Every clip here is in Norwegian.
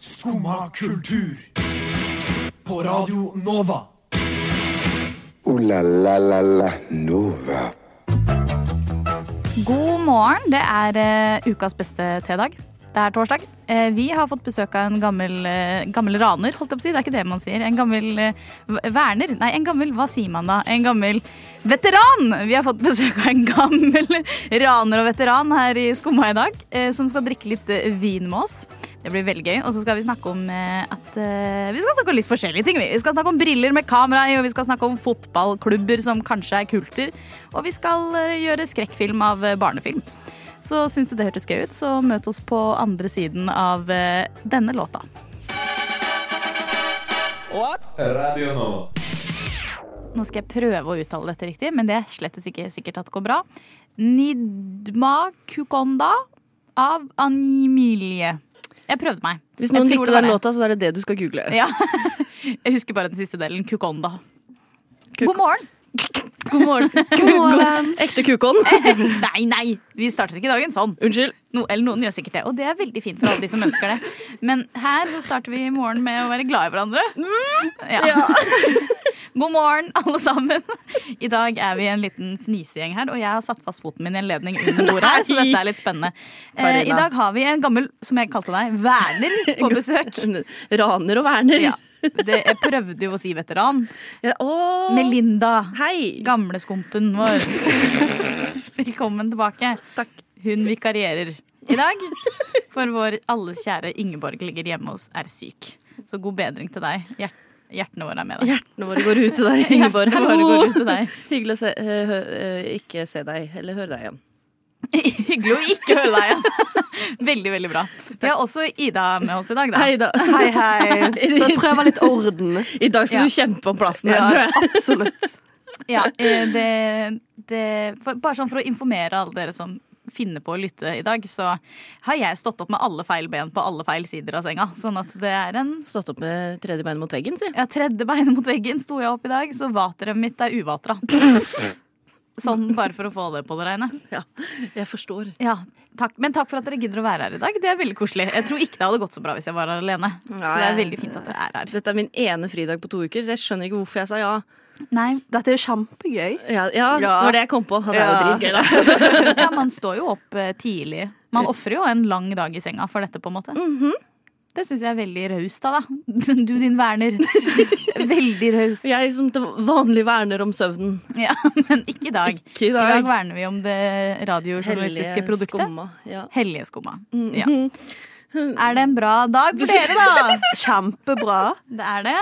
Skumma kultur. På Radio Nova. Ooh la la la la Nova. God morgen. Det er eh, ukas beste tedag. Det er torsdag. Eh, vi har fått besøk av en gammel, eh, gammel raner, holdt jeg på å si. Det er ikke det man sier. En gammel eh, v- verner. Nei, en gammel Hva sier man da? En gammel veteran! Vi har fått besøk av en gammel raner og veteran her i Skumma i dag, eh, som skal drikke litt eh, vin med oss. Det blir veldig gøy. Og så skal vi snakke om eh, at eh, Vi skal snakke om litt forskjellige ting. vi. Vi skal snakke om briller med kamera i, og vi skal snakke om fotballklubber som kanskje er kulter. Og vi skal eh, gjøre skrekkfilm av eh, barnefilm. Så syns du det hørtes gøy ut, så møt oss på andre siden av eh, denne låta. Radio Nova. Nå skal jeg prøve å uttale dette riktig, men det er slett ikke sikkert at det går bra. Nidma Kukonda av Animilie. Jeg prøvde meg. Hvis Jeg noen tror likte det var den det. låta, så er det det du skal google. Ja. Jeg husker bare den siste delen. Kukonda. Kuk- God morgen. God morgen. God morgen. Ekte kukon. Nei, nei! Vi starter ikke dagen sånn. Unnskyld. No, eller noen gjør sikkert det, og det er veldig fint for alle de som ønsker det. Men her så starter vi morgen med å være glad i hverandre. Mm. Ja. God morgen, alle sammen. I dag er vi en liten fnisegjeng her, og jeg har satt fast foten min i en ledning under bordet her, så dette er litt spennende. Eh, I Karina. dag har vi en gammel, som jeg kalte deg, verner på besøk. Raner og Werner. Ja. Det, jeg prøvde jo å si veteran. Ja, åh. Melinda. Hei. Gamleskumpen vår. Velkommen tilbake. Takk. Hun vikarierer i dag. For vår alles kjære Ingeborg ligger hjemme hos er syk. Så god bedring til deg. Hjer- Hjertene våre er med deg. Hjertene våre går ut til deg, Ingeborg. Hjertene våre går ut til deg. Hyggelig å se, eh, hø- eh, ikke se deg, eller høre deg igjen. Hyggelig å ikke høre deg igjen. Veldig, veldig bra. Vi har også Ida med oss i dag. Da. Hei da. Hei, hei. Så prøv å ha litt orden. I dag skal Ja. du kjempe om plassen her, tror jeg. absolutt. Ja, eh, det, det, for, bare sånn for å informere alle dere som finner på å lytte i dag, så har jeg stått opp med alle feil ben på alle feil sider av senga. Sånn at det er en Stått opp med tredje bein mot veggen, si. Ja, tredje beinet mot veggen sto jeg opp i dag, så vateret mitt er uvatra. Sånn bare for å få det på det reine. Ja. Jeg forstår. Ja, takk. Men takk for at dere gidder å være her i dag. Det er veldig koselig. Jeg tror ikke det hadde gått så bra hvis jeg var her alene. Så det er Nei. veldig fint at dere er her. Dette er min ene fridag på to uker, så jeg skjønner ikke hvorfor jeg sa ja. Nei, Dette er jo kjempegøy. Ja, ja, Ja. Det var det jeg kom på. Det er jo Ja. dritgøy, da. ja, man står jo opp eh, tidlig. Man ofrer jo en lang dag i senga for dette, på en måte. Det syns jeg er veldig raust av deg. Du din verner. Veldig raust. Jeg som til vanlig verner om søvnen. Ja, men ikke i dag. Ikke i I dag dag. verner vi om det radiojournalistiske Hellige produktet. skumma, Ja. Hellige skumma. Ja. Mm. Er det en bra dag for dere, da? Kjempebra. Det er det.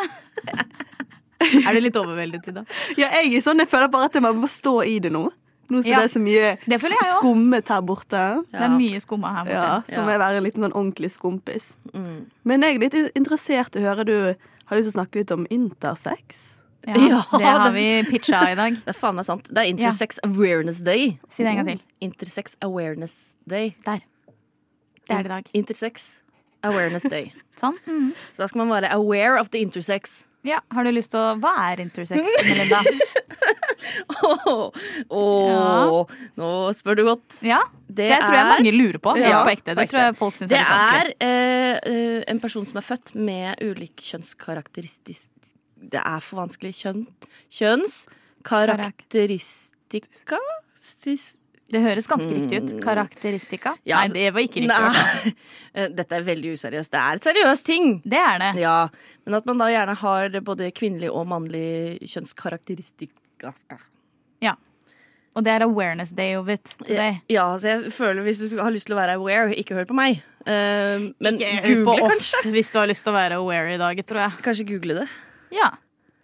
Er du litt overveldet i dag? Ja, jeg er sånn, jeg føler bare at jeg må stå i det nå. Nå som Ja. det er så mye Det føler jeg også. skummet her borte. Det er mye skumma her borte. Ja, Så Ja. må jeg være en liten sånn ordentlig skumpis. Mm. Men jeg er litt in- interessert i å høre du har lyst til å snakke litt om intersex. Ja. Ja, det har den- vi pitcha i dag. Det er faen meg sant. Det er Intersex Awareness Day. Mm. Si det en gang til. Intersex Awareness Day. Der. Det er det i dag. Intersex Awareness Day. Sånn. Mm. Så da skal man være aware of the intersex. Ja, har du lyst til å Hva er intersex, Melinda? Åh, åh, Nå spør du godt. Ja, det, tror jeg mange lurer på. Ja, Ja, på ekte. Det på tror jeg folk syns Det er litt vanskelig. er eh, eh, en person som er født med ulik kjønnskarakteristisk Det er for vanskelig. Kjønn, kjønnskarakteristika? Sis- Det høres ganske riktig ut. Karakteristika. Mm. Ja, Nei, altså- det var ikke riktig. i hvert fall. Nei. Eh, Dette er veldig useriøst. Det er et seriøst ting. Det er det. Ja, Men at man da gjerne har både kvinnelig og mannlig kjønnskarakteristika. Ja. Og det er awareness day of it today. Ja, så jeg føler Hvis du skal- har lyst til å være aware, ikke hør på meg. Eh, men Ikke hør google på oss kanskje. hvis du har lyst til å være aware i dag, tror jeg. Kanskje google det. Ja.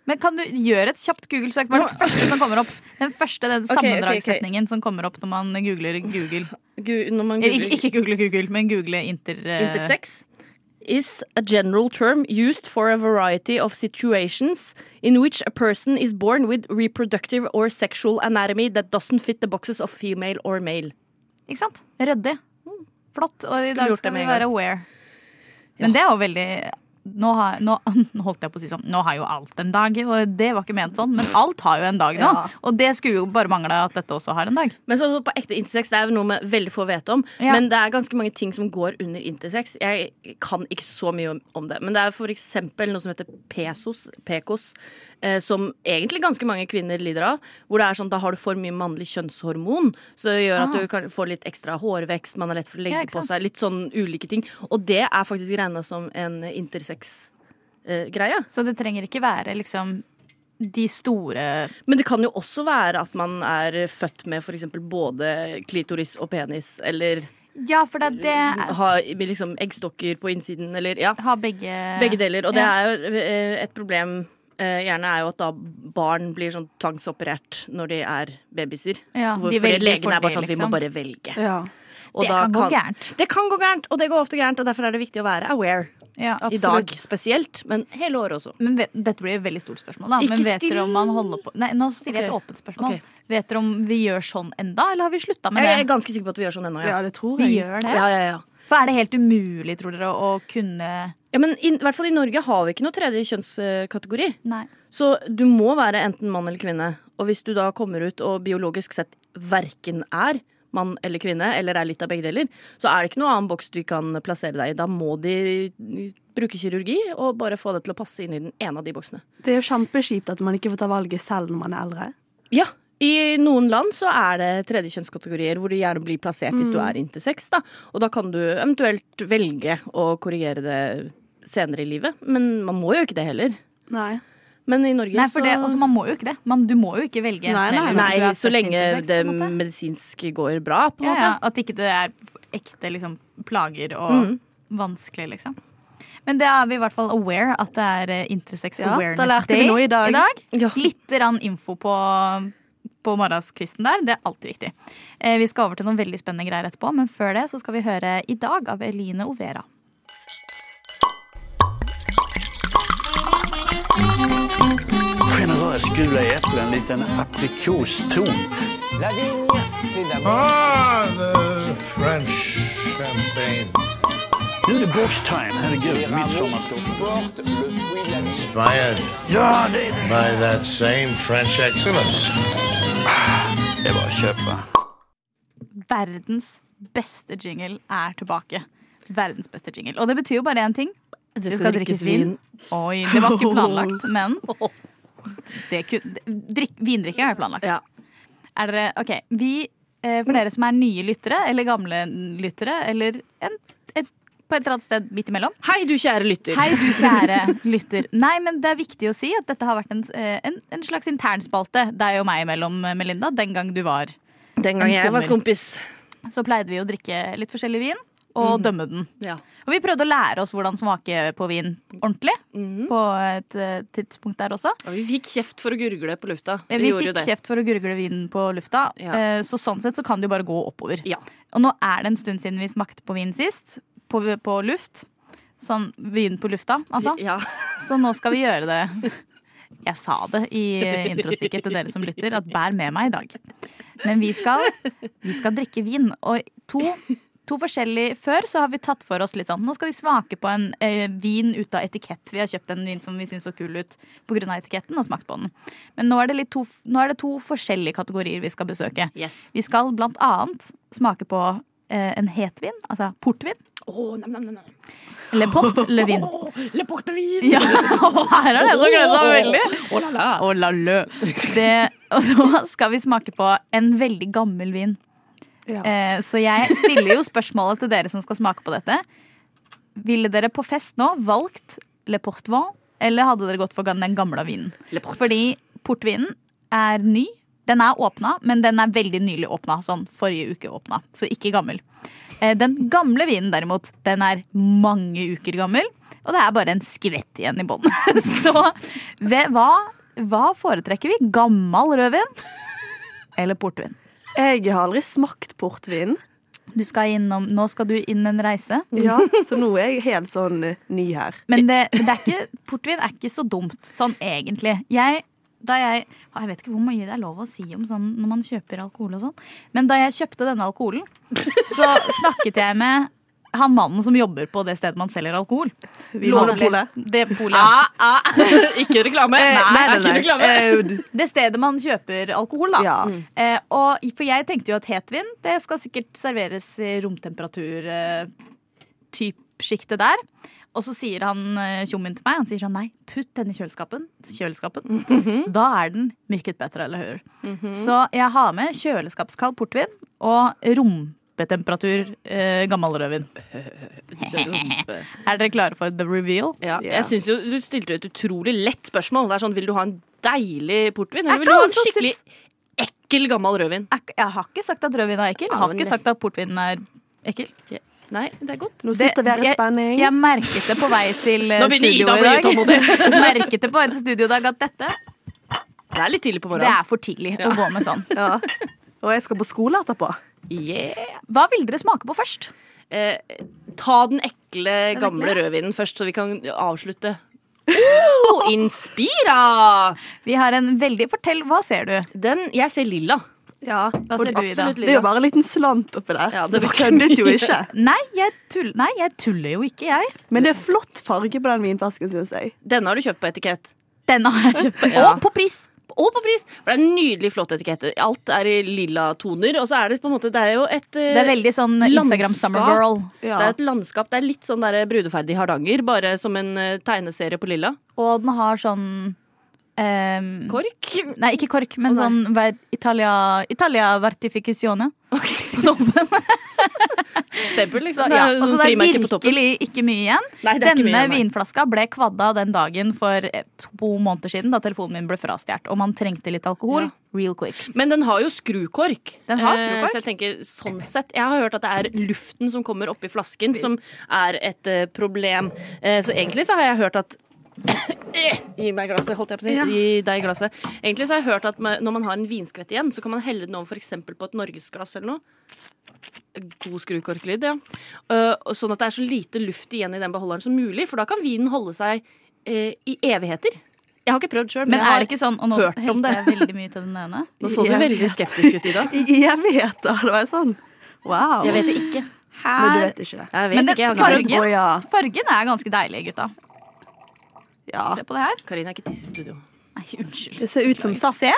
Men kan du gjøre et kjapt Google-søk? Hva er det første som kommer opp? Den første den ok, ok. sammendragssetningen som kommer opp når man googler Google. Eh, Gu- når man Ikke, googler ikke google Google, men google inter... eh, intersex is a general term used for a variety of situations in which a person is born with reproductive or sexual anatomy that doesn't fit the boxes of female or male. Ikke sant? Ryddig. Mm, Flott. Og i Skulle dag gjort det skal med vi en være gang. aware. Men det er jo veldig nå, har, nå, nå holdt jeg på å si sånn Nå har jo alt en dag. Og det var ikke ment sånn, men alt har jo en dag nå. Ja. Og det skulle jo bare mangle at dette også har en dag. Men så, så på ekte intersex, det er jo noe med veldig få vet om. Ja. Men det er ganske mange ting som går under intersex. Jeg kan ikke så mye om- om det. Men det er for eksempel noe som heter pesos, pekos, eh, som egentlig ganske mange kvinner lider av. Hvor det er sånn, da har du for mye mannlig kjønnshormon. Så det gjør at Ah. du kan få litt ekstra hårvekst, man er lett for å legge Ja, ikke på sant? seg. Litt sånn ulike ting. Og det er faktisk regna som en intersex. eh, Greie. Så det trenger ikke være liksom de store Men det kan jo også være at man er født med f.eks. både klitoris og penis, eller Ja, for det, det er ha liksom eggstokker på innsiden, eller ja. Har begge Begge deler. Og det Eh, Ja. er jo eh, et problem eh, gjerne er jo at da barn blir sånn tvangsoperert når de er babyer. Ja, Hvor de fordi velger legene for er bare det, sånn vi liksom." må bare velge. Ja. Og Det da kan gå gærent. Det kan gå gærent, og det går ofte gærent, og derfor er det viktig å være aware. ja. I dag spesielt, men hele året også. Men vet, dette blir et veldig stort spørsmål, da. Ikke men vet still! dere om man holder på Nei, nå stiller jeg et Ok. åpent spørsmål. Ok. Vet dere om vi gjør sånn enda, eller har vi slutta med Jeg er det? ganske sikker på at vi gjør sånn ennå. ja, det tror Vi jeg. gjør det. ja, ja, ja. For er det helt umulig, tror dere, å å kunne ja men i hvert fall i Norge har vi ikke noe tredje kjønnskategori. Nei. Så du må være enten mann eller kvinne. Og hvis du da kommer ut og biologisk sett verken er mann eller kvinne, eller er litt av begge deler, så er det ikke noe annen boks du kan plassere deg i. Da må de bruke kirurgi og bare få det til å passe inn i den ene av de boksene. Det er jo kjempeskjipt at man ikke får ta valget selv når man er eldre. Ja, i noen land så er det tredje kjønnskategorier hvor du gjerne blir plassert hvis Mm. du er intersex. Da. Og da kan du eventuelt velge å korrigere det senere i livet. Men man må jo ikke det heller. Nei. Men i Norge Nei, så for det, altså, man må jo ikke det. Man, du må jo ikke velge. Nei, nei, enten eller hvis altså, du Nei, er født så lenge intersex, på det en måte. medisinske går bra, på en ja, måte. ja, At ikke det er ekte liksom, plager og Mm. vanskelig, liksom. Men det er vi i hvert fall aware at det er eh, Intersex Ja, da Awareness lærte vi Day noe i dag. Ja. Litt rann info på, på morgenskvisten der. Det er alltid viktig. Eh, vi skal over til noen veldig spennende greier etterpå, men før det så skal vi høre I dag av Eline Overa. Generøst skulle jeg eple en liten aprikoston. Ah, the French champagne. Nå er det boxtime. Herregud, midsommerstoff. Inspired Ja, det er det. by that same French excellence. Det er bare å kjøpe. Verdens beste jingle er tilbake. Verdens beste jingle. Og det betyr jo bare én ting. Det skal drikkes vin. Oi, det var ikke planlagt, men det kun, drikk, Vindrikking er jo planlagt. Ja. Er dere, ok, vi, eh, For dere som er nye lyttere, eller gamle lyttere, eller en, et, på et eller annet sted midt imellom. Hei, du kjære lytter. Hei, du kjære lytter. Nei, men det er viktig å si at dette har vært en, eh, en, en slags internspalte deg og meg imellom, eh, Melinda, den gang du var Den gang En jeg var skummel. skompis. så pleide vi å drikke litt forskjellig vin Mhm. og dømme den. Ja. Og vi prøvde å lære oss hvordan smake på vin ordentlig Mhm. på et eh, tidspunkt der også. Og vi fikk kjeft for å gurgle på lufta. Eh, Vi fikk kjeft for å gurgle vinen på lufta, Ja. eh, så sånn sett så kan det jo bare gå oppover. Ja. Og nå er det en stund siden vi smakte på vin sist, på, på luft. Sånn vin på lufta, altså. Ja. Så nå skal vi gjøre det. Jeg sa det i introstikket til dere som lytter, at bær med meg i dag. Men vi skal, vi skal drikke vin. Og to, to forskjellige Før så har vi tatt for oss litt sånn Nå skal vi smake på en eh, vin ut av etikett. Vi har kjøpt en vin som vi syns så kul ut pga. etiketten, og smakt på den. Men nå er, det litt to, nå er det to forskjellige kategorier vi skal besøke. Yes. Vi skal blant annet smake på eh, en hetvin, altså portvin. Le port le vin. Le portevin! Ja, og her er det en som gleder seg veldig. Oh, la, la. Å, la, lø. Det, og så skal vi smake på en veldig gammel vin. Ja. Eh, så jeg stiller jo spørsmålet til dere som skal smake på dette. Ville dere på fest nå valgt Le Portvin, eller hadde dere gått for den gamle vinen? Le port. Fordi portvinen er ny. Den er åpna, men den er veldig nylig åpna. Sånn forrige uke åpna, så ikke gammel. Eh, Den gamle vinen derimot, den er mange uker gammel. Og det er bare en skvett igjen i bånn. Så ve- hva, hva foretrekker vi? Gammel rødvin eller portvin? Jeg har aldri smakt portvin, Du skal innom, nå skal du inn en reise. ja, så nå er jeg helt sånn eh, ny her. Men det, men det er ikke, portvin er ikke så dumt, sånn egentlig. Jeg, da jeg, å, jeg vet ikke hvor mye det er lov å si om sånn når man kjøper alkohol og sånn, men da jeg kjøpte denne alkoholen, så snakket jeg med han mannen som jobber på det stedet man selger alkohol. Vinmonopolet. Det polet. altså. ah. Ikke reklame. Eh, nei, nei, nei. Eh, du- Det stedet man kjøper alkohol, da. Ja. Eh, og, for jeg tenkte jo at hetvin det skal sikkert serveres i romtemperatur eh, typ sjiktet der. Og så sier han eh, tjommien til meg Han sier sånn nei, putt den i kjøleskapen. kjøleskapen. Da er den mykket bedre, eller hur? Så jeg har med kjøleskapskald portvin og rompetemperatur eh, gammel rødvin. Er dere klare for the reveal? Ja, Ja. Jeg synes jo Du stilte et utrolig lett spørsmål. Det er sånn, Vil du ha en deilig portvin, Jeg eller vil du ha kan en også skikkelig synes- ekkel, gammel rødvin? Er ikke- Jeg har ikke sagt at rødvin er ekkel. Jeg har men ikke sagt nesten. at portvin er ekkel. Nei, det er godt. Nå sitter vi her i jeg- spenning. Jeg merket det på vei til eh, Nå begynner studio Ida å i bli dag. merket det på vei til studio i dag at dette Det er litt tidlig på Det morgenen. er for tidlig å gå med sånn. Ja. Og jeg skal på skole etterpå. Yeah. Hva vil dere smake på først? Eh, ta den ekle, gamle rødvinen først, så vi kan avslutte. Oh, inspira! Vi har en veldig Fortell, hva ser du? Den Jeg ser lilla. Ja. Hva ser du, Ida? Absolutt Det er jo lilla. bare en liten slant oppi der. Ja, så det vi var ikke køddet jo mye. ikke. Nei jeg, tull, nei, jeg tuller jo ikke, jeg. Men det er flott farge på den vinflasken, syns jeg. Denne har du kjøpt på etikett. Den har jeg kjøpt. på- Ja. Og på pris! Og på pris! For det er en nydelig, flott etikette. Alt er i lilla toner. Og så er det på en måte Det er jo et eh, Det er veldig sånn Instagram Landskap. summer girl. Ja. Det er et landskap. Det er litt sånn der brudeferdig Hardanger, bare som en eh, tegneserie på lilla. Og den har sånn ehm, Kork. Nei, ikke kork, men Å, nei. sånn ver, Italia, Italia vertificatione. På toppen. Stempel, Så, liksom. ja. Det er Og så noen det er frimerker på toppen. virkelig ikke mye igjen. Nei, det er ikke mye Denne igjen, nei. vinflaska ble kvadda den dagen for eh, to måneder siden da telefonen min ble frastjålet. Og man trengte litt alkohol. Ja. Real quick. Men den har jo skrukork. Den har Eh, skrukork. Så jeg tenker, sånn sett Jeg har hørt at det er luften som kommer oppi flasken, som er et eh, problem. Eh, Så egentlig så har jeg hørt at Gi meg glasset, holdt jeg på å si. Gi deg glasset. Egentlig så har jeg hørt at ma- når man har en vinskvett igjen, så kan man helle den over f.eks. på et norgesglass eller noe. God skrukorklyd, ja. Eh, og Sånn at det er så lite luft igjen i den beholderen som mulig, for da kan vinen holde seg eh, i evigheter. Jeg har ikke prøvd sjøl, Men jeg er har det ikke sånn Og nå hørt om helte jeg veldig mye til den ene. Nå så du veldig skeptisk ut, Ida. I evigheter. Det var jo sånn. Wow. Jeg vet det ikke. Men du vet ikke det. Jeg vet Men ikke, jeg har ikke farge- prøvd. Å, ja. fargen, fargen er ganske deilig, gutta. Ja. Se på det her. Karina er ikke tiss i studio. Nei, unnskyld. Det ser ut som saft. Se.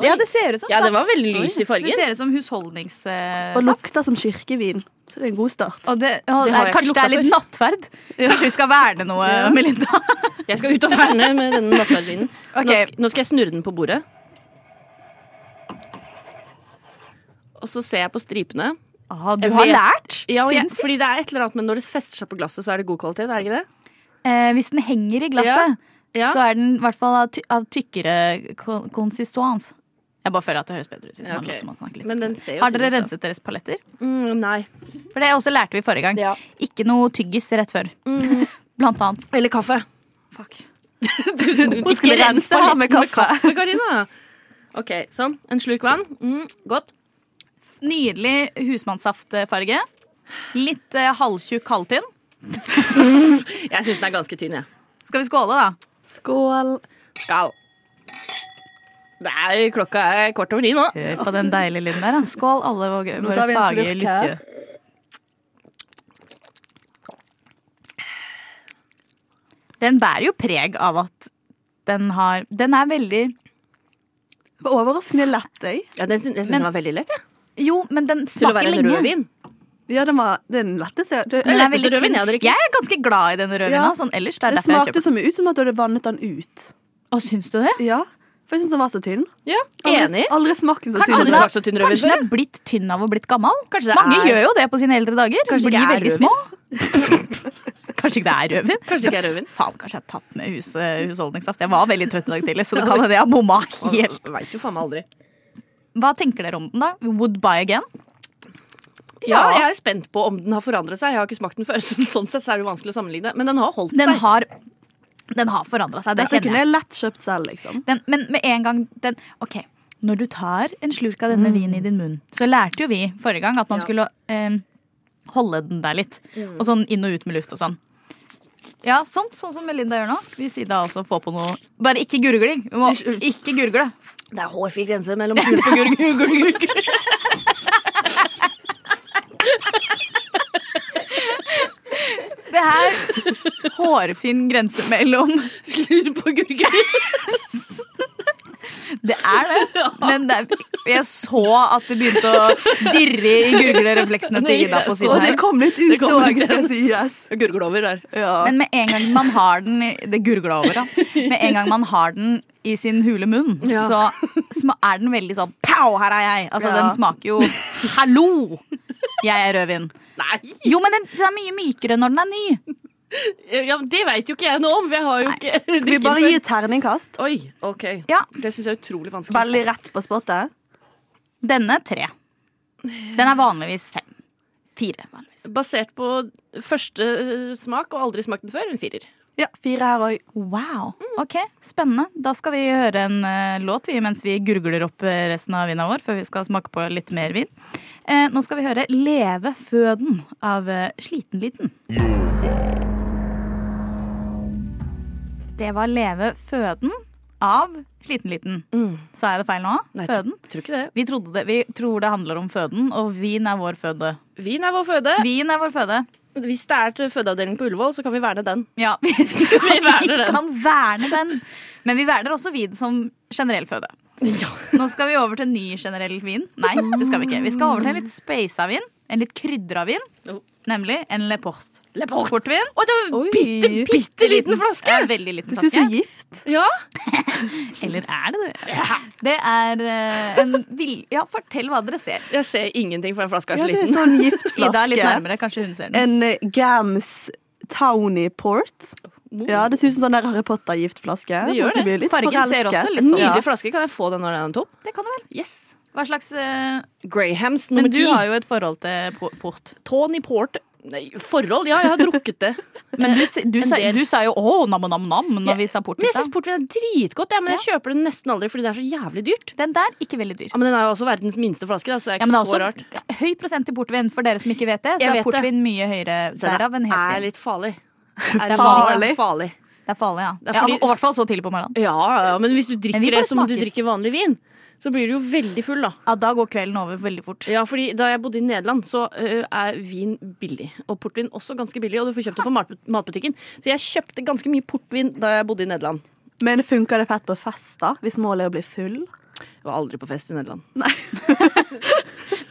Ja, det ser ut som Ja, den saft. var veldig lys i fargen. Det ser ut som husholdningssaft. Og lukter som kirkevin. Så eh, det er en god start. Og det, og Det det har jeg ikke kanskje det er lukta litt nattferd? Kanskje vi skal verne noe, Melinda? Jeg skal ut og verne med denne nattverdvinen. Nå, Ok. sk- nå skal jeg snurre den på bordet. Og så ser jeg på stripene. Ah, du Jeg har vet- lært Ja, og jeg, siden sist. fordi det er et eller annet, men når det fester seg på glasset, så er det god kvalitet, er det ikke det? Eh, hvis den henger i glasset, Ja. så er den i hvert fall av, ty av tykkere ko- konsistens. Jeg bare føler at det høres bedre ut. Hvis Ja, man ok. låser maten, litt. Men den ser jo Har dere tydelig ut, renset deres paletter? da. Mm, nei. For det også lærte vi forrige gang. Ja. Mm. Ikke noe tyggis rett før. Blant annet. Eller kaffe. Fuck. du, Hun skulle rense her med kaffe. kaffe, Karina. OK, sånn. En slurk vann. Mm, godt. Nydelig husmannssaftfarge. Litt eh, halvtjukk, halvtynn. Jeg syns den er ganske tynn, jeg. Skal vi skåle, da? Skål. Skål. Nei, klokka er kvart over ni nå. Hør eh, på den deilige lyden der. da. Skål, alle våre, Nå våre tar vi en faglige slurk her. lyttere. Den bærer jo preg av at den har Den er veldig Det var Overraskende lett, jeg. Ja, den syns, jeg syns Men- den var veldig lett. Ja. Jo, men den Til å smaker være en lenge. rødvin. Ja, den var det er den letteste. Det, Den Den er letteste veldig rødvin tynn. jeg har drukket. Jeg er ganske glad i den rødvinen. Ja. Sånn ellers. Det er det derfor jeg smakte kjøper den. som ut som at du hadde vannet den ut. Å, syns du det? Ja, For jeg syns den var så tynn. Ja, Aldri, Enig. aldri smakt den så Kanskje tynn. det smaker så tynn rødvin Kanskje den før? er blitt tynn av å blitt gammel? Kanskje det Mange er- gjør jo det på sine eldre dager. Kanskje det Blir ikke er veldig rødvin? små. Kanskje ikke det er rødvin? Kanskje det ikke er rødvin. Faen, kanskje jeg har tatt med hus, eh, husholdningssaft. Jeg var veldig trøtt i dag tidlig, så det kan hende jeg har bomma helt. Veit jo faen meg aldri. Hva tenker dere om den, da? Would buy again? Ja, jeg er spent på om den har forandret seg. Jeg har ikke smakt den før. så Sånn sett så er det jo vanskelig å sammenligne. Men den har holdt Den seg. har, den har forandra seg, det Dette kjenner kunne jeg. jeg lett kjøpt selv, liksom. Den, men med en gang den OK. Når du tar en slurk av denne vinen i din munn, så lærte jo vi forrige gang at man Ja. skulle eh, holde den der litt. Og sånn inn og ut med luft og sånn. Ja, sånn, sånn som Melinda gjør nå. Hvis Ida altså får på noe Bare ikke gurgling. Vi må ikke gurgle. Det er hårfin grense mellom slurk og gurk. Det er hårfin grense mellom Lur på gurgel. Det er det. Men det er, jeg så at det begynte å dirre i gurglerefleksene til Ida på Og siden det her. kom litt ut Det kom òg, litt skal ut. sies. Gurgle over der. Ja. Men med en gang man har den i- Det gurgla over, da. Med en gang man har den i sin hule munn, Ja. så sma- er den veldig sånn Pow, her er jeg! Altså, Ja. den smaker jo Hallo! Jeg er rødvin. Nei! Jo, men den, den er mye mykere når den er ny. Eh, Ja, men det veit jo ikke jeg noe om. for Jeg har jo ikke Skal vi drikken bare før. gi et terningkast? Oi, ok. Ja, Det syns jeg er utrolig vanskelig. Veldig rett på spottet. denne tre. Den er vanligvis fem. Fire. vanligvis Basert på første eh, smak og aldri smakt den før, en firer. Ja, fire her òg. Wow. Ok, spennende. Da skal vi høre en eh, låt vi, mens vi gurgler opp eh, resten av vina vår, før vi skal smake på litt mer vin. Eh, nå skal vi høre 'Leve føden' av eh, Slitenliten. Det var 'Leve føden' av Slitenliten. Sa jeg det feil nå? føden? Tror ikke det. Vi, trodde det, vi tror det handler om føden, og vin er vår føde. Vin er vår føde. Vin er vår føde. Hvis det er til fødeavdeling på Ullevål, så kan vi verne den. Ja, vi, vi, kan, vi, verner den. kan verne den. Men vi verner også vin som generell føde. Nå skal vi over til ny generell vin. Nei, det skal vi ikke. Vi skal over til en litt speisa vin. En litt krydra vin. Jo. Nemlig en Le Port. Oh. Le Port. Portvin. Å, det var en bitte, bitte liten flaske! Ja, veldig liten Du er så flaske. gift. Ja. Eller er det det? Det er eh, en vill... Ja, fortell hva dere ser. Jeg ser ingenting, for den flaska er Ja, så det er en liten. sånn Ida er litt giftflaske. nærmere. Kanskje hun ser den. En eh, Gams Towny Port. Ja, det ser ut som sånn der Harry Potter-giftflaske. Det gjør Og så det. blir jeg litt Fargen ser forelsket. også litt En sånn- nydelig Ja. flaske. Kan jeg få den når den er tom? Det kan du vel. Yes. Hva slags eh, Grahams Men nummer du ti. har jo et forhold til po- port. Tony Port. Nei, forhold? Ja, jeg har drukket det. Men du, s- du, En sa, del. du sa jo 'å, nam-nam-nam' Ja, når vi sa port. i Men jeg stad. syns portvin er dritgodt, ja, men jeg kjøper den nesten aldri fordi det er så jævlig dyrt. Den der, ikke veldig dyr. Ja, Men den er jo også verdens minste flaske, da, så det er Ja, ikke men det så er rart. også høy prosent i portvin, for dere som ikke vet det. Så Jeg er vet det. portvin mye høyere derav enn det er hetvin. litt farlig. Det er farlig. litt farlig. Det er farlig, ja. Det er ja fordi- og i hvert fall så tidlig på morgenen. Ja, ja, men hvis du drikker Men vi bare det som du smaker. drikker vanlig vin, så blir du jo veldig full, da. Ja, Da går kvelden over veldig fort. Ja, fordi Da jeg bodde i Nederland, så ø, er vin billig. Og portvin også ganske billig, og du får kjøpt det på mat- matbutikken. Så jeg kjøpte ganske mye portvin da jeg bodde i Nederland. Men funker det fett på fest, da? Hvis målet er å bli full? Jeg var aldri på fest i Nederland.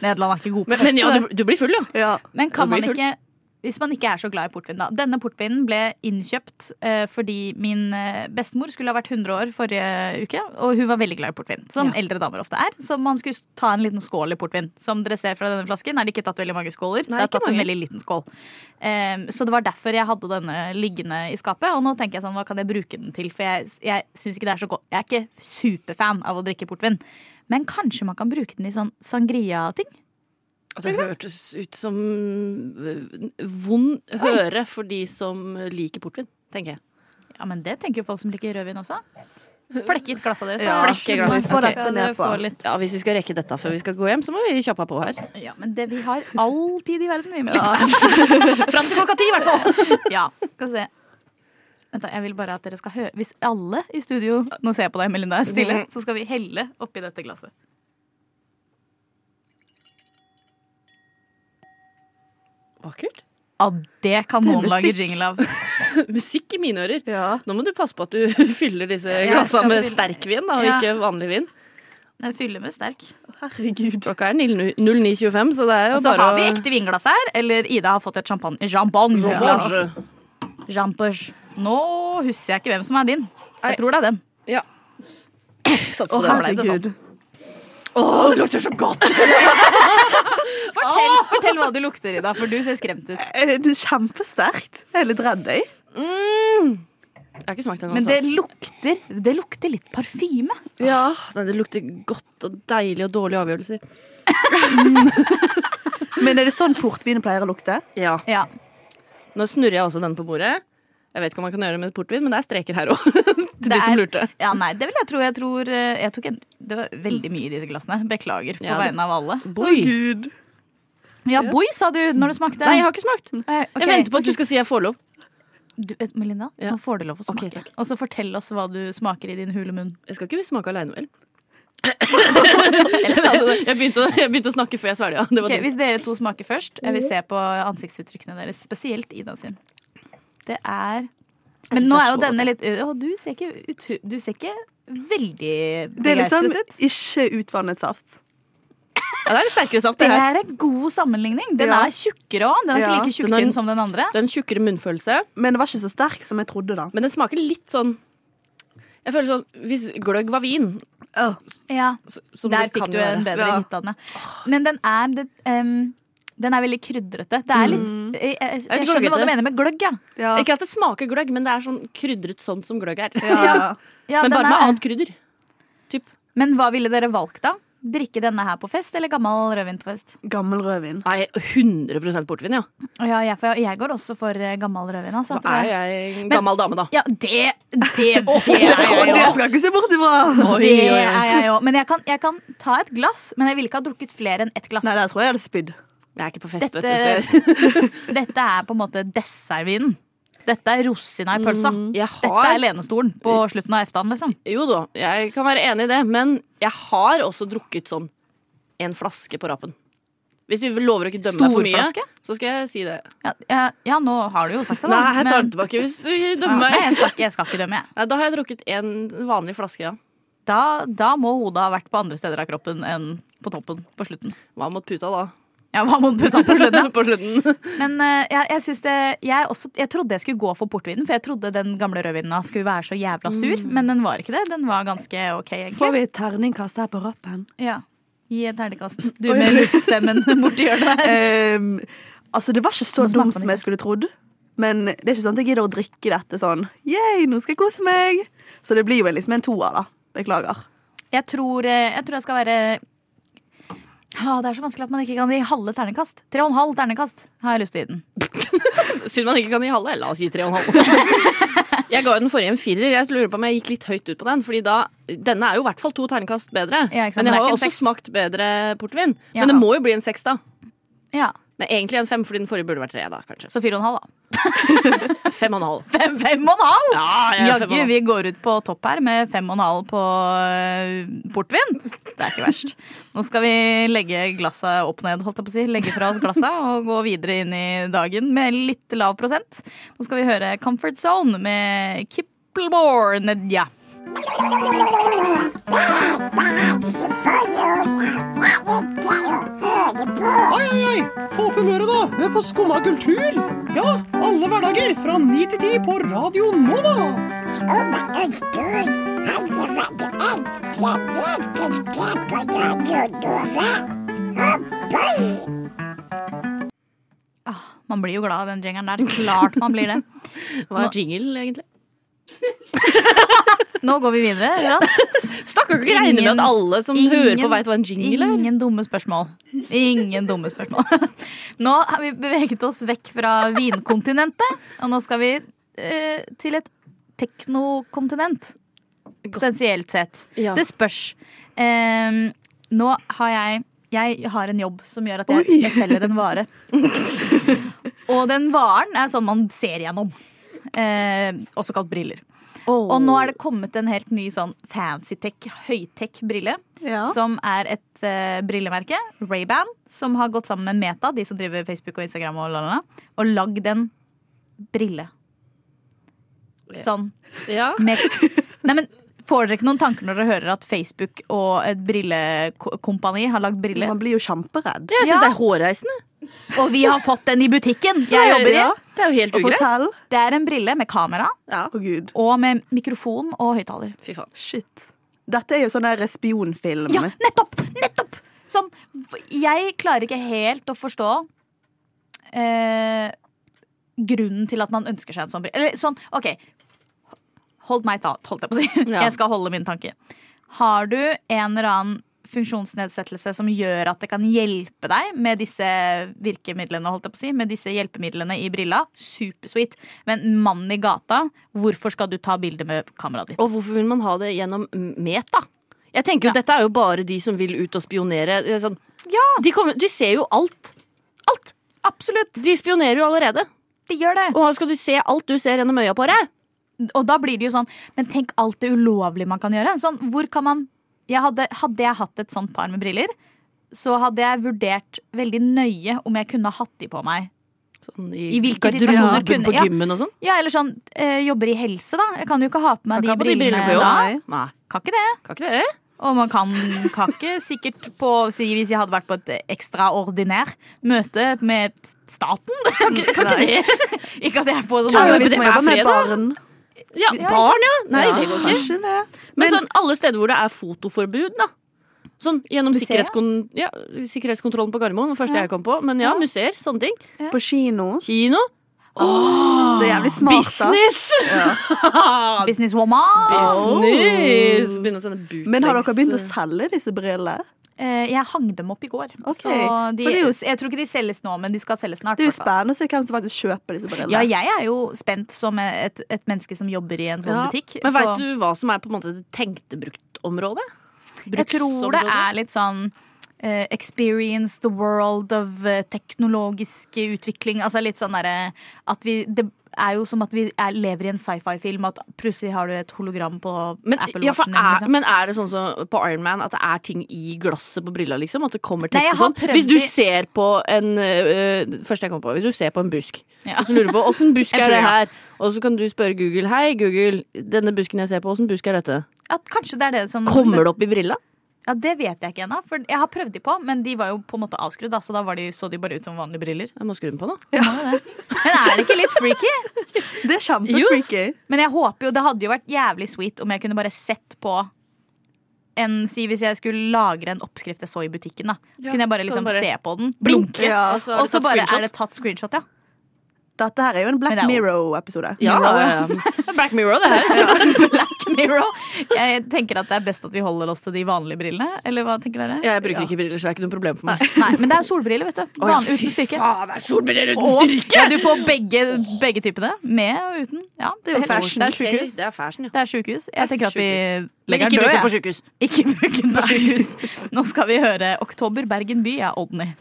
Nederland er ikke god på Men, men ja, du, du blir full, ja. Ja. Men kan Da man blir ikke hvis man ikke er så glad i portvin, da. Denne portvinen ble innkjøpt eh, fordi min eh, bestemor skulle ha vært 100 år forrige uke, og hun var veldig glad i portvin. Som eldre damer ofte er. Så man skulle ta en liten skål i portvin. Som dere ser fra denne flasken, er det ikke tatt veldig mange skåler. Nei, det er ikke tatt en mange. veldig liten skål. Em, så det var derfor jeg hadde denne liggende i skapet. Og nå tenker jeg sånn, hva kan jeg bruke den til? For jeg, jeg syns ikke det er så godt. Jeg er ikke superfan av å drikke portvin. Men kanskje man kan bruke den i sånn sangria-ting? Og Det hørtes ut som ø, vond høre for de som liker portvin, tenker jeg. Ja, men det tenker jo folk som liker rødvin også. Flekket glasset deres. Ja. Flekke Må glasset. få Ok. dette Ja, ned dere på. får litt- Ja, Hvis vi skal rekke dette før vi skal gå hjem, så må vi kjappa på her. Ja, men det, vi har all tid i verden, vi med Fram til klokka ti, i hvert fall! Ja, skal vi se. Vent da, jeg vil bare at dere skal høre Hvis alle i studio Nå ser jeg på deg, Melinda, er stille, så skal vi helle oppi dette glasset. Vakkert. Ja, det kan er noen lage musikk. jingle av. Musikk i mine ører. ja. Nå må du passe på at du fyller disse jeg glassene skal med fylle- sterkvin, da, og Ja. ikke vanlig vin. Den fyller med sterk. Herregud. Klokka er 09.25, så det er jo Og så bare har vi ekte vinglass her, eller Ida har fått et champagne. Champagne. Ja. Champagne. Nå husker jeg ikke hvem som er din. Nei. Jeg tror det er den. Sats Å, på det. her- Herregud. Å, det lukter så godt! Fortell, fortell hva du lukter, Ida, for du ser skremt ut. Eh, Det er kjempesterkt. Jeg er litt redd, jeg. Jeg har ikke smakt den. Men altså. det lukter, det lukter litt parfyme. Ja. Nei, det lukter godt og deilig og dårlige avgjørelser. Men er det sånn portvin pleier å lukte? Ja. Ja. Nå snurrer jeg også den på bordet. Jeg vet ikke om man kan gjøre det med portvin, men det er streker her òg. Til Det de er- som lurte. ja, nei, det vil jeg tro. Jeg tror eh, jeg tok en, Det var veldig mye i disse glassene. Beklager på Ja, det- vegne av alle. Boi. Gud. Ja, boi, sa du når du smakte. Nei, jeg har ikke smakt. Eh, ok. Jeg venter på at du skal si jeg får lov. du, eh, Melinda, Ja. nå får du lov å Ok, smake. takk. og så fortell oss hva du smaker i din hule munn. Jeg skal ikke smake aleine, vel? Eller skal du det? Jeg begynte, å- jeg begynte å snakke før jeg svelga. Det var Ok, dumt. Mhm. hvis dere to smaker først, jeg vil se på ansiktsuttrykkene deres. Spesielt Ida sin. Det er Men nå er jo denne litt Å, du ser ikke, utru, du ser ikke veldig Det er liksom begeistret ut. ikke utvannet saft. Ja, det er litt sterkere saft, Det det her. er en god sammenligning. Den Ja. er tjukkere òg. Den er ikke Ja. like Den er- tjukktynn som den andre. Det er en tjukkere munnfølelse, Men det var ikke så sterk som jeg trodde, da. men den smaker litt sånn Jeg føler sånn Hvis gløgg var vin Ja, så- som Der det fikk kan du en være. bedre Ja. hit av den. ja. Men den er det, em, Den er veldig krydrete. Det er litt Jeg, Mm. jeg, jeg skjønner hva gløggete. du mener med gløgg, ja. Ja. Ikke at det smaker gløgg, men det er sånn krydret sånn som gløgg er. Ja. ja men den bare med er- annet krydder. Men hva ville dere valgt, da? Drikke denne her på fest, eller gammel rødvin på fest? Gammel rødvin. Nei, 100 portvin, ja. Ja, jeg, for jeg, jeg går også for eh, gammel rødvin. Altså, Da tror er jeg. jeg en gammel dame, da. Ja, det Det, det er Og jeg det òg. skal jeg ikke se bort ifra! Oi, Det oi, oi. er jeg òg. Men jeg kan, jeg kan ta et glass, men jeg ville ikke ha drukket flere enn ett glass. Nei, der tror jeg jeg hadde spydd. Jeg er ikke på fest, vet du. Så Dette, dette er på en måte dessertvinen. Dette er rosina i pølsa. jeg Dette har er lenestolen på slutten av eftan, liksom. Jo da, jeg kan være enig i det, men jeg har også drukket sånn en flaske på rappen. Hvis du lover å ikke dømme meg for mye, Storflaske? så skal jeg si det. Ja, ja, ja, nå har du jo sagt det, da. Nei, jeg tar men- det tilbake hvis du Ja, dømmer nei, jeg, meg. skal ikke, jeg skal ikke dømme, jeg. Nei, da har jeg drukket en vanlig flaske, ja. Da, da må hodet ha vært på andre steder av kroppen enn på toppen på slutten. Hva mot puta da? Ja, hva må du putte på slutten? På slutten. Men eh, jeg, jeg, synes det, jeg, også, jeg trodde jeg skulle gå for portvinen, for jeg trodde den gamle rødvinen skulle være så jævla sur, men den var ikke det. Den var ganske ok, Får egentlig. vi et terningkast her på rappen? Ja. Gi et terningkast. Du med luftstemmen borti hjørnet der. Ehm, altså, det var ikke Må så smake dumt på som den jeg skulle trodd. Men det er ikke sånn at jeg gidder å drikke dette sånn. Yay, nå skal jeg kose meg! Så det blir jo liksom en toer, da. Beklager. Jeg tror eh, jeg, tror jeg skal være Ah, det er så vanskelig at man ikke kan gi halve terningkast. Tre og en halv terningkast har jeg lyst til å gi den. Synd man ikke kan gi halve. La oss gi tre og en halv. Jeg ga jo den forrige en firer. Jeg lurer på om jeg gikk litt høyt ut på den. Fordi da, Denne er jo i hvert fall to terningkast bedre. Ja, ikke sant, Men det jeg er har ikke jo en også seks. smakt bedre portvin. Ja. Men det må jo bli en seks, da. Ja, Men egentlig en fem, fordi den forrige burde vært tre. da, kanskje. Så fire og en halv, da. Så fem og en halv. Fem, fem og en halv! Ja, jeg er fem og Jaggu, en halv. vi går ut på topp her med fem og en halv på øh, portvin. Det er ikke verst. Nå skal vi legge glasset opp ned, holdt jeg på å si. Legge fra oss glasset og gå videre inn i dagen med litt lav prosent. Nå skal vi høre Comfort Zone med Kippelborn Nedja. Oi, oi, oi! Få opp humøret, da! Hør på Skumma kultur! Ja, alle hverdager fra ni til ti på Radio Nova! Ah, Man blir jo glad av den jingeren der. Klart man blir det. Hva er jingle, egentlig? Nå går vi videre raskt. Stakkar, ikke regne med Ingen- at alle som ingen- hører på, veit hva en jingle er. Ingen dumme spørsmål. Ingen dumme spørsmål. Nå har vi beveget oss vekk fra vinkontinentet, og nå skal vi eh, til et teknokontinent. Potensielt sett. Ja. Det spørs. Em, nå har jeg jeg har en jobb som gjør at jeg, Oi. jeg selger en vare. og den varen er sånn man ser gjennom. Eh, også kalt briller. Og nå er det kommet en helt ny sånn fancy-tech, høytech-brille. Ja. Som er et eh, brillemerke, Ray-Ban, som har gått sammen med Meta, de som driver Facebook og Instagram, og, lalala, og lagd en brille. Sånn. Ja. Med, nei, men får dere ikke noen tanker når dere hører at Facebook og et brillekompani har lagd briller? Man blir jo kjemperedd. Jeg syns Ja. det er hårreisende. Og vi har fått den i butikken! Jeg jobber i. Ja, Det er jo helt Og ugreit. fortell. Det er en brille med kamera Ja. Å, gud. og med mikrofon og høyttaler. Fy faen. Shit. Dette er jo sånn der spionfilm. Ja, nettopp! Nettopp! Sånn, f- jeg klarer ikke helt å forstå eh, grunnen til at man ønsker seg en sånn brille. Eller sånn, OK. Hold meg tatt, holdt jeg på å si. Ja. Jeg skal holde min tanke. Har du en eller annen funksjonsnedsettelse som gjør at det kan hjelpe deg med disse virkemidlene, holdt jeg på å si, med disse hjelpemidlene i brilla, supersweet. Men mannen i gata, hvorfor skal du ta bilde med kameraet ditt? Og hvorfor vil man ha det gjennom Meta? Jeg tenker jo, Dette er jo bare de som vil ut og spionere. Det er Sånn. De, kommer, de ser jo alt. Alt! Absolutt. De spionerer jo allerede. De gjør det! Og skal du se alt du ser gjennom øya på deg? Og da blir det jo sånn Men tenk alt det ulovlige man kan gjøre. Sånn, hvor kan man jeg hadde, hadde jeg hatt et sånt par med briller, så hadde jeg vurdert veldig nøye om jeg kunne hatt de på meg Sånn i, I hvilke garderoben situasjoner kunne- På ja. gymmen og sånn? Ja, eller sånn eh, jobber i helse, da. Jeg kan jo ikke ha på meg Kan de ikke ha på de brillene. brillene på jobb. da. Nei. Nei. Kan ikke det. Kan ikke det? Og man kan kan ikke sikkert på si, Hvis jeg hadde vært på et ekstraordinær møte med staten Kan ikke, kan ikke det? Ikke at jeg er på sånn Kan Eller vi hvis det man hver jobber med fredag? barn. Ja, barn, ja. Nei, det går ikke. Kanskje det. Men, Men- sånn alle steder hvor det er fotoforbud, da. Sånn gjennom Museer? sikkerhetskon ja, sikkerhetskontrollen på Gardermoen, var første jeg kom på. Men ja, museer, sånne ting. På kino. Kino. Det er jævlig smart, da. Ah, Business! Ah, Businesswoman. Business! Begynne å sende bootlegs. Men har dere begynt å selge disse brillene? Eh, Jeg hang dem opp i går. Ok, Så de, for det er jo s- jeg tror ikke de selges nå, men de skal selges snart. Det er jo hvertfall. spennende å se hvem som faktisk kjøper disse brillene. Ja, jeg er jo spent som et, et menneske som jobber i en sånn Ja, butikk. Men For- veit du hva som er på en måte det tenkte bruktområdet? Jeg tror det er litt sånn eh, experience the world of eh, teknologisk utvikling. Altså litt sånn derre at vi Det er jo som at vi er, lever i en sci-fi-film, at plutselig har du et hologram på men, Apple ja, for Watchen. din, er, liksom. men er det sånn som på Iron Man at det er ting i glasset på brilla, liksom? At det kommer Nei, tekst jeg og har sånn? prøvd Hvis du i- ser på en øh, Første jeg kom på. Hvis du ser på en busk, Ja. og så lurer du på åssen busk Jeg er tror det ja. her, og så kan du spørre Google Hei, Google, denne busken jeg ser på, åssen busk er dette? At kanskje det er det som Kommer det opp i brilla? Ja, Det vet jeg ikke ennå. For jeg har prøvd de på, men de var jo på en måte avskrudd. Da, så da var de, så de bare ut som vanlige briller. Jeg må skru den på nå. Men er det ikke litt freaky? Det er kjempefreaky. Men jeg håper jo, det hadde jo vært jævlig sweet om jeg kunne bare sett på en, si Hvis jeg skulle lagre en oppskrift jeg så i butikken, da. Så kunne jeg bare liksom bare se på den, blinke, Ja. Og så har og du så tatt bare screenshot. er det tatt screenshot, ja. Dette her er jo en Black Men det er jo- Mirror-episode. Ja, ja, ja. Black Mirror, det her. Black Mirror. Jeg tenker at det er best at vi holder oss til de vanlige brillene, eller hva tenker dere? Jeg bruker ikke briller, så det er ikke noe problem for meg. Nei, men det er jo solbriller, vet du. Van, uten styrke. faen, det er solbriller uten Og- Ja, du får begge, begge typene. Med og uten. Ja, det er jo fashion. Det er sykehus. Det er fashion, ja. Det er sykehus. Jeg tenker at vi Men legger ikke den bruk det på død. jeg. sykehus. Ikke bruk den på sykehus. Nå skal vi høre Oktober Bergen by er Odny.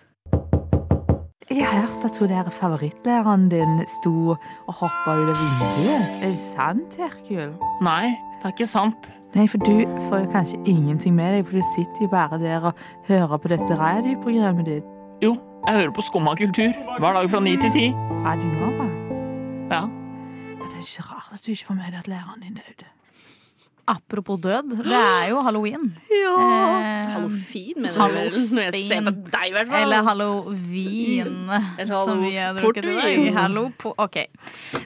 Jeg hørte at hun der favorittlæreren din sto og hoppa ut av vinduet. Er det sant, Herkul? Nei, det er ikke sant. Nei, for du får jo kanskje ingenting med deg, for du sitter jo bare der og hører på dette radioprogrammet ditt. Jo, jeg hører på Skumma kultur hver dag fra ni til ti. Radio Nova. Ja. Ja, Det er ikke så rart at du ikke får med deg at læreren din døde. Apropos død, det er jo halloween. Eh, Hallofin, mener du vel? Når jeg ser på Hallofin. deg, i hvert fall. eller halloween, Eller som vi har drukket i dag. halloport. Hallo på, ok.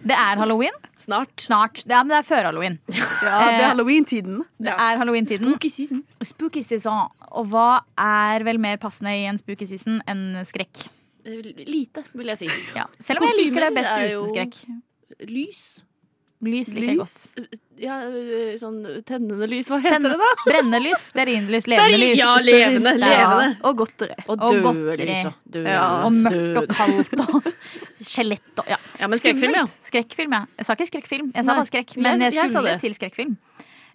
Det er halloween. Snart. Snart. Det er, men det er før halloween. Ja, Eh, det er halloween-tiden. Det er halloween-tiden. season. Spooky season. Og hva er vel mer passende i en spooky season enn skrekk? Lite, vil jeg si. Ja. Selv om jeg Kostymer liker det best er uten jo- skrekk. Lys. Lys liker jeg godt. Ja, øh, sånn tennende lys. Hva heter Tenne, det, da? Brennelys, stearinlys, levende Stearin- lys. Ja, levende. Ja. levende. Og godteri. Og Og døde godteri. lys. og Døde. Ja. Og mørkt og Døde. kaldt og skjelett og ja. Ja, men skrekkfilm, ja. Skummelt. Skrekkfilm, ja. Jeg sa ikke skrekkfilm, jeg sa Nei. bare skrekk. Men Jeg- jeg jeg sa skulle det. til skrekkfilm.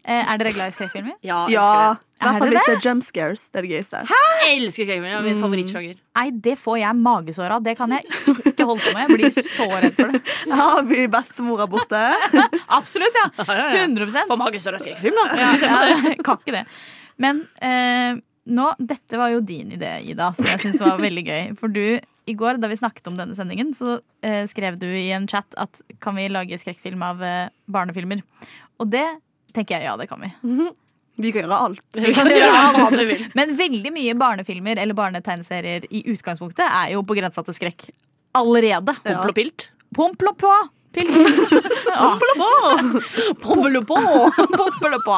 Eh, Er dere glad i skrekkfilmer? Ja, jeg Ja, elsker det. i hvert Er fall det hvis det er jump scares. Det er det gøyeste. Jeg elsker skrekkfilm. Ja, min favorittsjanger. Nei, det får jeg magesår av. Det kan jeg ikke holde på med. Jeg blir så redd for det. Har vi bestemora borte? Absolutt, ja. ja, ja. 100 På magesår av skrekkfilm, da. ja, ja, Kan ikke det. Men eh, nå, dette var jo din idé, Ida, som jeg syns var veldig gøy. For du, i går da vi snakket om denne sendingen, så eh, skrev du i en chat at kan vi lage skrekkfilm av eh, barnefilmer? Og det tenker jeg ja, det kan vi. Vi kan gjøre alt. Vi kan gjøre hva du vil. Men veldig mye barnefilmer eller barnetegneserier i utgangspunktet er jo på grensa til skrekk. Allerede. Pompel og pilt. Pomp og på! Pils. Pompel og på. Pompel og på.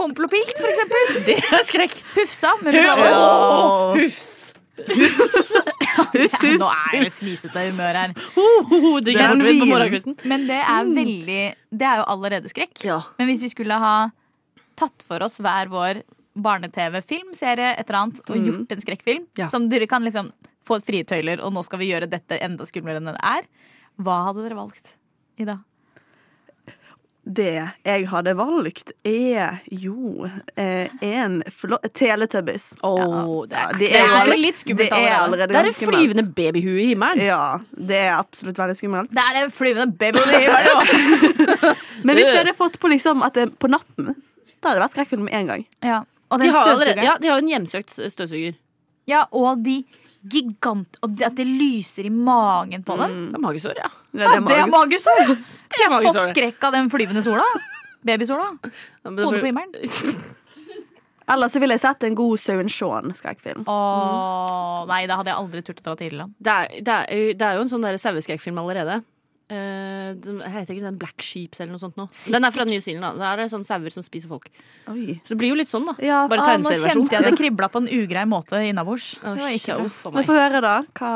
Pompel og pilt, for eksempel. Det er skrekk. Hufsa. med Bravo. Åh, Ja, nå er det fnisete humør her. Mm. Ho, ho, Det er Drikker portvin på vin. morgenkvisten. Men det er veldig Det er jo allerede skrekk. Ja. Men hvis vi skulle ha tatt for oss hver vår barne-TV-film, serie, et eller annet, og gjort en skrekkfilm Ja. som dere kan liksom få frie tøyler, og nå skal vi gjøre dette enda skumlere enn det er, hva hadde dere valgt? Ida? Det jeg hadde valgt, er jo eh, en flott Teletubbies. Åh, det Ja, er det er jo ganske- litt skummelt Det er allerede. allerede Det er ganske et skummelt. flyvende babyhue i himmelen. Ja, det er absolutt veldig skummelt. Det er den flyvende babyen i himmelen! Men hvis vi hadde fått på liksom at det er på natten, da hadde det vært skrekkfilm med en gang. ja. Og De den har allerede, støvsugeren. ja, de har jo en hjemsøkt støvsuger. Ja, og de gigant Og det- at det lyser i magen på dem. Det er magesår, ja. Ja, det er magisk. magesår! Mm. Det er Jeg har fått magesår. skrekk av den flyvende sola. Babysola. Ja, men det Hodet blir- på himmelen. Ellers så ville jeg sett en god Søren Shaun-skrekkfilm. Åh, nei, da hadde jeg aldri turt å dra til Irland. Det er, det, er, jo- det er jo en sånn der saueskrekkfilm allerede. Eh, den heter ikke den Black Sheeps eller noe sånt nå? Den er fra New Zealand. da. Da er det sånn sauer som spiser folk. Oi. Så det blir jo litt sånn, da. Ja. Bare Ah, nå kjente jeg tegneserieversjon. det kribla på en ugrei måte innabords. Det var ikke Åh, bra. uff a Men meg. få høre, da. Hva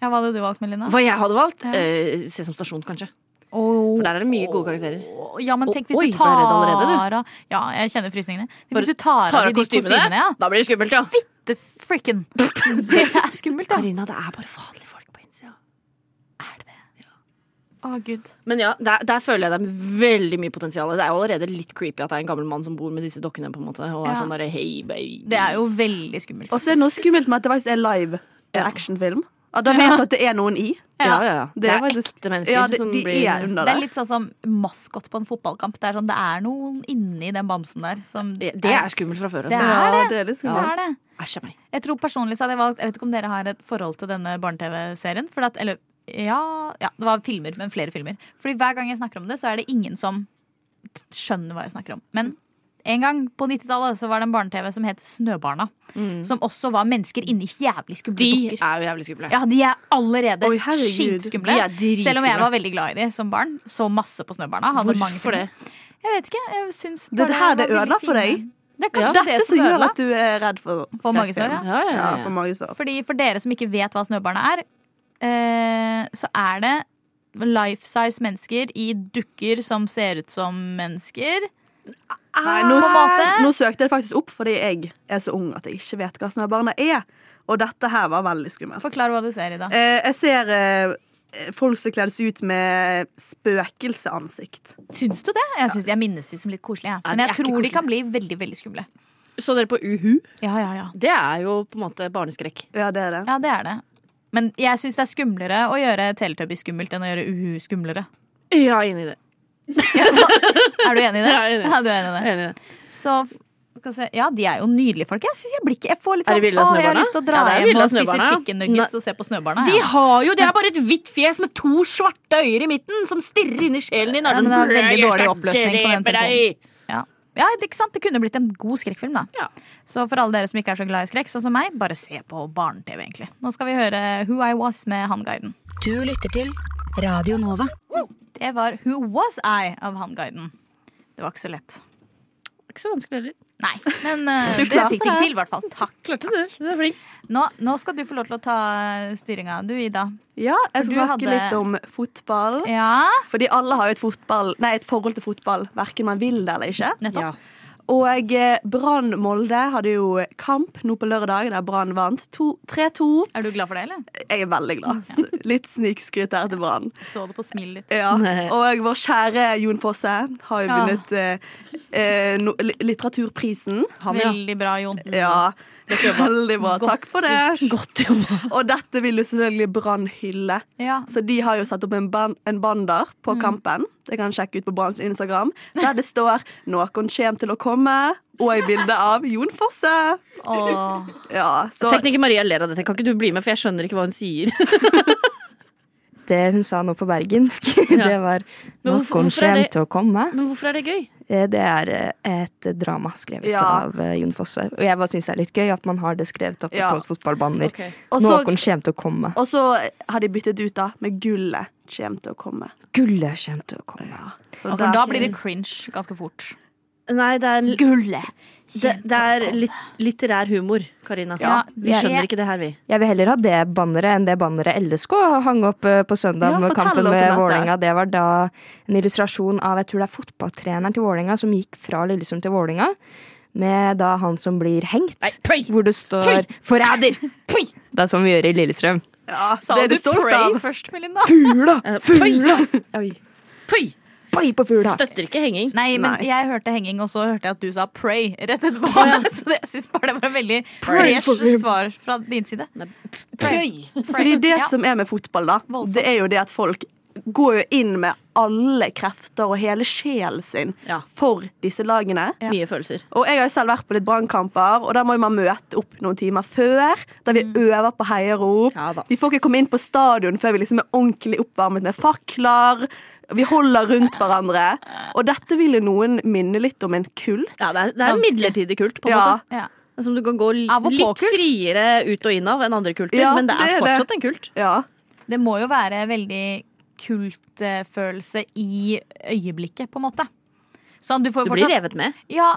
Ja, hva hadde du valgt, Melina? Hva jeg hadde valgt? Ja. Eh, Sesam Stasjon, kanskje. Åh, For der er det mye gode karakterer. åh, Ja, men tenk hvis Oi, du ble jeg tar redd allerede, du? av Ja, jeg kjenner frysningene. Tenk Bare hvis du tar, Tar av av de kostymene, kostymene? ja. Da blir det skummelt, ja. Det frikken. Det er skummelt, da. Karina, det er bare vanlige folk på innsida. Å, gud. Men ja, der, der føler jeg det er veldig mye potensial. Det er jo allerede litt creepy at det er en gammel mann som bor med disse dokkene. på en måte Og er Ja. sånn der, hey baby Det er jo veldig skummelt. Og så er det noe skummelt med at det faktisk er live Ja. actionfilm. At da vet du at det er noen i. Ja, ja, ja. Det er faktisk- ekte mennesker ja, det, som de blir er under Det er der. litt sånn som maskot på en fotballkamp. Det er, sånn, det er noen inni den bamsen der som Det det er skummelt fra før. Det er Altså. ja, det. det er Det litt skummelt. er det. Æsj a meg. Jeg tror personlig så hadde jeg valgt Jeg vet ikke om dere har et forhold til denne barne-TV-serien. For at, eller, ja, ja, det var filmer, men flere filmer. Fordi hver gang jeg snakker om det, så er det ingen som t- skjønner hva jeg snakker om. Men en gang på 90-tallet så var det en barne-TV som het Snøbarna. Mm. Som også var mennesker inni jævlig skumle De dukker. er jo jævlig skumle. Ja, de er allerede Oi, herregud. skitskumle. De er dritskumle. Selv om jeg var veldig glad i de som barn. Så masse på Snøbarna. Hadde mange Hvorfor det? filmer. Jeg vet ikke. Jeg syns Det er det var her det ødela veldig for fine. deg. Det er Ja. kanskje Dette det som som gjør ødela. at du er redd for For magesår, Ja, skrekkfilm. ja, Ja, ja, for ja. magesår. Fordi For dere som ikke vet hva snøbarna er, eh, så er det life size mennesker i dukker som ser ut som mennesker. Nei, nå, På en måte. nå søkte jeg det faktisk opp fordi jeg er så ung at jeg ikke vet hva snøbarna er. Og dette her var veldig skummelt. Forklar hva du ser i, da. Eh, jeg ser eh, folk som kleddes ut med spøkelseansikt. Eh, Syns du det? Jeg syns jeg minnes de som litt koselige. jeg. Ja, Men de er jeg ikke tror de koselige. kan bli veldig veldig skumle. Så dere på Uhu? Ja, ja, ja. Det er jo på en måte barneskrekk. Ja, det er det. Ja, det er det. Men jeg syns det er skumlere å gjøre Teletubby skummelt enn å gjøre Uhu skumlere. Ja, enig i det. Er du enig i det? Ja, jeg er enig. Ja, du er enig i det. Enig i det. Så f- skal vi se. Ja, de er jo nydelige folk. Jeg synes jeg blir ikke Jeg får litt Er sånn det Å, Villa jeg har Snøbarna? lyst til å dra Ja, det er hjem Villa og spise Snøbarna. chicken nuggets og se på Snøbarna. De ja. har jo, det er bare et hvitt fjes med to svarte øyne i midten som stirrer inn i sjelen din. Ja, sånn, men det er veldig «Jeg dårlig skal oppløsning på den drepe deg!» Ja. ja, det, ikke sant? det kunne blitt en god skrekkfilm. da Ja. Så for alle dere som ikke er så glad i skrekk, sånn som meg, bare se på barne-TV. egentlig Nå skal vi høre Who I Was med Hanguiden. Du lytter til Radio Nova. Det var Who Was I av Hanguiden. Det var ikke så lett. Ikke så vanskelig heller. Nei, men eh, Du det klarte fikk de det. til, i hvert fall. Takk. Klarte du. Du er flink. Nå, nå skal du få lov til å ta eh, styringa, du, Ida. Ja, For jeg skal du snakke hadde- litt om fotball. Ja, Fordi alle har jo et, fotball, nei, et forhold til fotball, verken man vil det eller ikke. nettopp. Og eh, Brann Molde hadde jo kamp nå på lørdag, der Brann vant to- 3-2. Er du glad for det, eller? Jeg er veldig glad. Så Litt snikskryt her til Brann. Så det på smilet ditt. Ja. Og vår kjære Jon Fosse har jo Ja. vunnet eh, eh, no, li- litteraturprisen. Veldig bra, Jon. Ja, veldig bra. Takk for det. Godt jobba. Og dette vil jo selvfølgelig Brann hylle. Ja. Så de har jo satt opp en, ban en bander på kampen. Det kan jeg sjekke ut på Branns Instagram. Der det står 'Noen kjem til å komme', og et bilde av Jon Fosse. Åh. Ja, så Tekniker Maria ler av dette. Kan ikke du bli med, for jeg skjønner ikke hva hun sier. Det hun sa nå på bergensk, det var Men hvorfor- hvorfor Noen er kommer det- til å komme. Men hvorfor er det gøy? Eh, Det er eh, et drama skrevet Ja. av eh, Jon Fosse. Og jeg bare syns det er litt gøy at man har det skrevet oppe Ja. på fotballbaner. Og så- Noen kommer til å komme. Og så har de byttet ut da med 'Gullet kjem til å komme'. Gullet kommer til å komme. Så Ja, der- for da blir det cringe ganske fort. Nei, det er, Gullet! det, det er litt, litterær humor, Karina. Ja, vi jeg- skjønner ikke det her, vi. Jeg vil heller ha det banneret enn det banneret LSK hang opp eh, på søndag Ja, med fortell kampen oss om med dette. Vålerenga. Det var da en illustrasjon av jeg tror det er fotballtreneren til Vålerenga som gikk fra Lillesund til Vålerenga. Med da han som blir hengt, Nei, pøy! hvor det står 'forræder'! Det er sånn vi gjør i Lillestrøm. ja, Sa det er du du stolt pray av. først, Melinda? Fugla! Eh, Fugla! Oi. Pøy! Pai på fugla! Støtter ikke henging. Nei, men Nei. jeg hørte henging, og så hørte jeg at du sa pray rett etterpå. Så det, jeg syns bare det var en veldig Pray. fresh svar fra din side. Pøy! Pray. Fordi det Ja. som er med fotball, da, Voldsomt. det er jo det at folk går jo inn med alle krefter og hele sjelen sin for disse lagene. Mye følelser. Og jeg har jo selv vært på litt brannkamper, og der må jo man møte opp noen timer før. Der Mm. vi øver på heiarop. vi får ikke komme inn på stadion før vi liksom er ordentlig oppvarmet med fakler. Vi holder rundt hverandre. Og dette vil jo noen minne litt om en kult. Ja, det er, det er en midlertidig kult, på en Ja. måte. Som du kan gå li- Av og litt på-kult. friere ut og inn av enn andre kulter, men det er fortsatt en kult. Det må jo være veldig kultfølelse i øyeblikket, på en måte. Sånn, du, får jo Du blir fortsatt- revet med. Ja,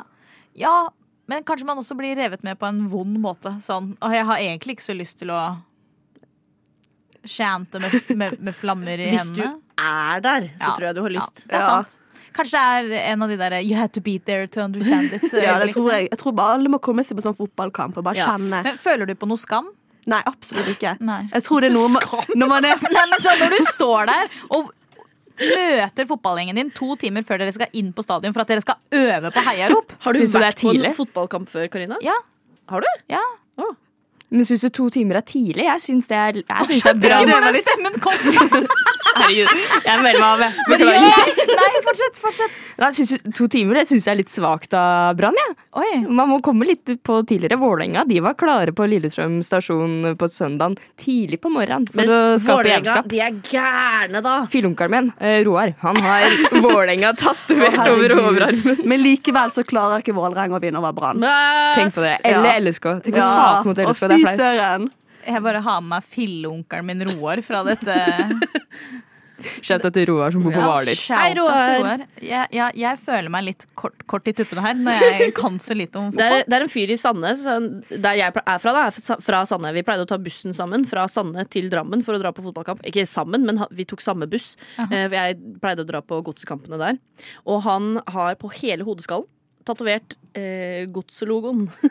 ja, men kanskje man også blir revet med på en vond måte. Sånn, og jeg har egentlig ikke så lyst til å Shante med, med, med flammer i Hvis du hendene. er der, så tror jeg du har lyst. Ja, det er Ja. sant. Kanskje det er en av de derre You had to be there to understand it. Ja, øyeblikkene. det tror jeg. Jeg tror bare alle må komme seg på sånn fotballkamp og bare Ja. kjenne. Men føler du på noe skam? Nei, absolutt ikke. Jeg tror det er noe man, når man er Nei, men så når du står der og møter fotballgjengen din to timer før dere skal inn på stadion for at dere skal øve på heiarop Har du Syns vært det er på en tidlig? fotballkamp før, Karina? Ja. Har du? Ja. Men syns du to timer er tidlig? Jeg syns det er, jeg synes det er bra. Skjønner du hvor den stemmen kom fra? Herregud, jeg melder meg av. jeg. Beklager. Nei, nei, fortsett, fortsett. Nei, jeg synes, to timer det syns jeg er litt svakt av Brann. jeg. Man må komme litt på tidligere. Vålerenga de var klare på Lillestrøm stasjon på søndagen tidlig på morgenen for Men å skape Vålerenga, jævelskap. de er gærne, da! Filleonkelen min, eh, Roar, han har Vålerenga tatovert Å, over herregud. overarmen. Men likevel så klarer ikke Vålerenga å vinne over Brann. Tenk på det. E Eller LSK. Tenk å tape mot E LSK, det er flaut. Jeg bare har med meg filleonkelen min Roar fra dette. Shout out til Roar som bor på Hvaler. Hei, Roar. Jeg, ja, jeg føler meg litt kort, kort i tuppene her når jeg kan så lite om Det er, fotball. det er en fyr i Sande, så- der jeg er fra, da, er fra- fra Sande. Vi pleide å ta bussen sammen fra Sande til Drammen for å dra på fotballkamp. Ikke sammen, men ha- vi tok samme buss. Aha. Eh, for Jeg pleide å dra på godsekampene der. Og han har på hele hodeskallen tatovert eh, godslogoen.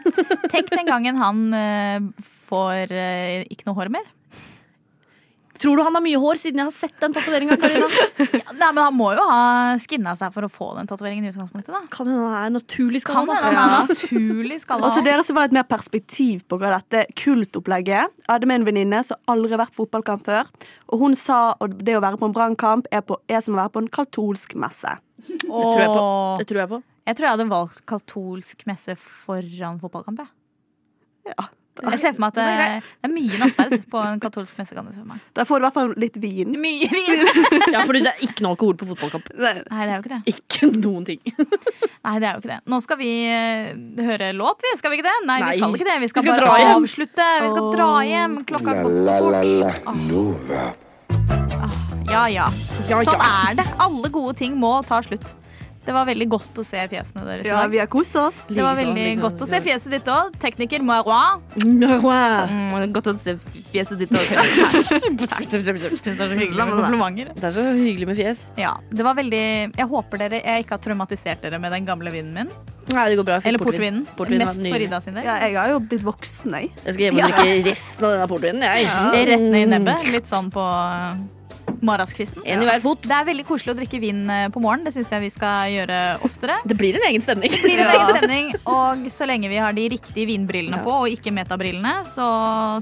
Tenk den gangen han eh, får eh, ikke noe hår mer. Tror du han har mye hår, siden jeg har sett den tatoveringa? Ja, nei, men han må jo ha skinna seg for å få den tatoveringen i utgangspunktet, da. Kan hende han er naturlig skalla. Kan hende han er naturlig skalla. Og til dere som var litt mer perspektiv på hva dette kultopplegget er. Jeg hadde med en venninne som aldri har vært på fotballkamp før. Og hun sa at det å være på en brannkamp er, på- er som å være på en katolsk messe. tror jeg på. Det tror jeg på. Jeg tror jeg hadde valgt katolsk messe foran fotballkamp. Jeg. Jeg ser for meg at det, det er mye nattverd på en katolsk messe. kan jeg se for meg Der får du i hvert fall litt vin. Mye vin! Ja, fordi det er ikke noe alkohol på fotballkamp. Nei, det er jo ikke det. Ikke noen ting. Nei, det er jo ikke det. Nå skal vi eh, høre låt, vi. Skal vi ikke det? Nei, Nei. vi skal ikke det. Vi skal, Vi skal dra bare hjem. avslutte. Vi skal dra hjem. Klokka har gått så fort. Ah. La-la-la-la Nova. Ja, ja. Ja, Sånn ja. er det. Alle gode ting må ta slutt. Det var veldig godt å se fjesene deres. i Ja, dag. vi har kost oss. Det var veldig godt å se fjeset ditt òg. Tekniker Marois. Mm, godt å se fjeset ditt òg. Det er så hyggelig med fjes. Ja, det var veldig Jeg håper dere Jeg ikke har traumatisert dere med den gamle vinden min. Nei, det går bra. Jeg fikk Eller portvin. portvinen. Portvin var Mest for nydelig. Ida sin del. Ja, jeg har jo blitt voksen, jeg. Jeg skal hjem og Ja. drikke resten av denne portvinen. Jeg. Ja. Rett ned i nebbet. Litt sånn på eh, morgenskvisten. Mm. En i hver fot. Det er veldig koselig å drikke vin eh, på morgenen. Det syns jeg vi skal gjøre oftere. Mm. Det blir en egen stemning. Det blir en egen stemning, og så lenge vi har de riktige vinbrillene på, og ikke metabrillene, så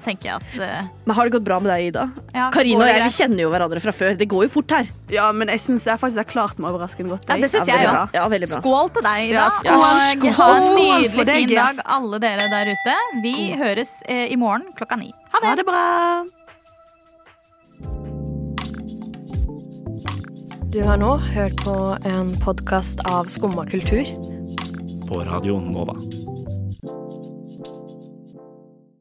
tenker jeg at eh, Men har det gått bra med deg, Ida? ja, Karina går og det jeg vi greit? kjenner jo hverandre fra før. Det går jo fort her. Ja, men jeg syns jeg faktisk har klart meg overraskende godt. Ja, det syns jeg veldig òg. bra. Ja, veldig bra. Skål til deg, Ida. Ja, skål. Og ha en Skål for nydelig deg, fin dag, Gest. alle dere der ute. Vi høres eh, i morgen klokka ni. Ha det! Ha det bra. Du har nå hørt på en podkast av Skumma kultur. På radioen Nova.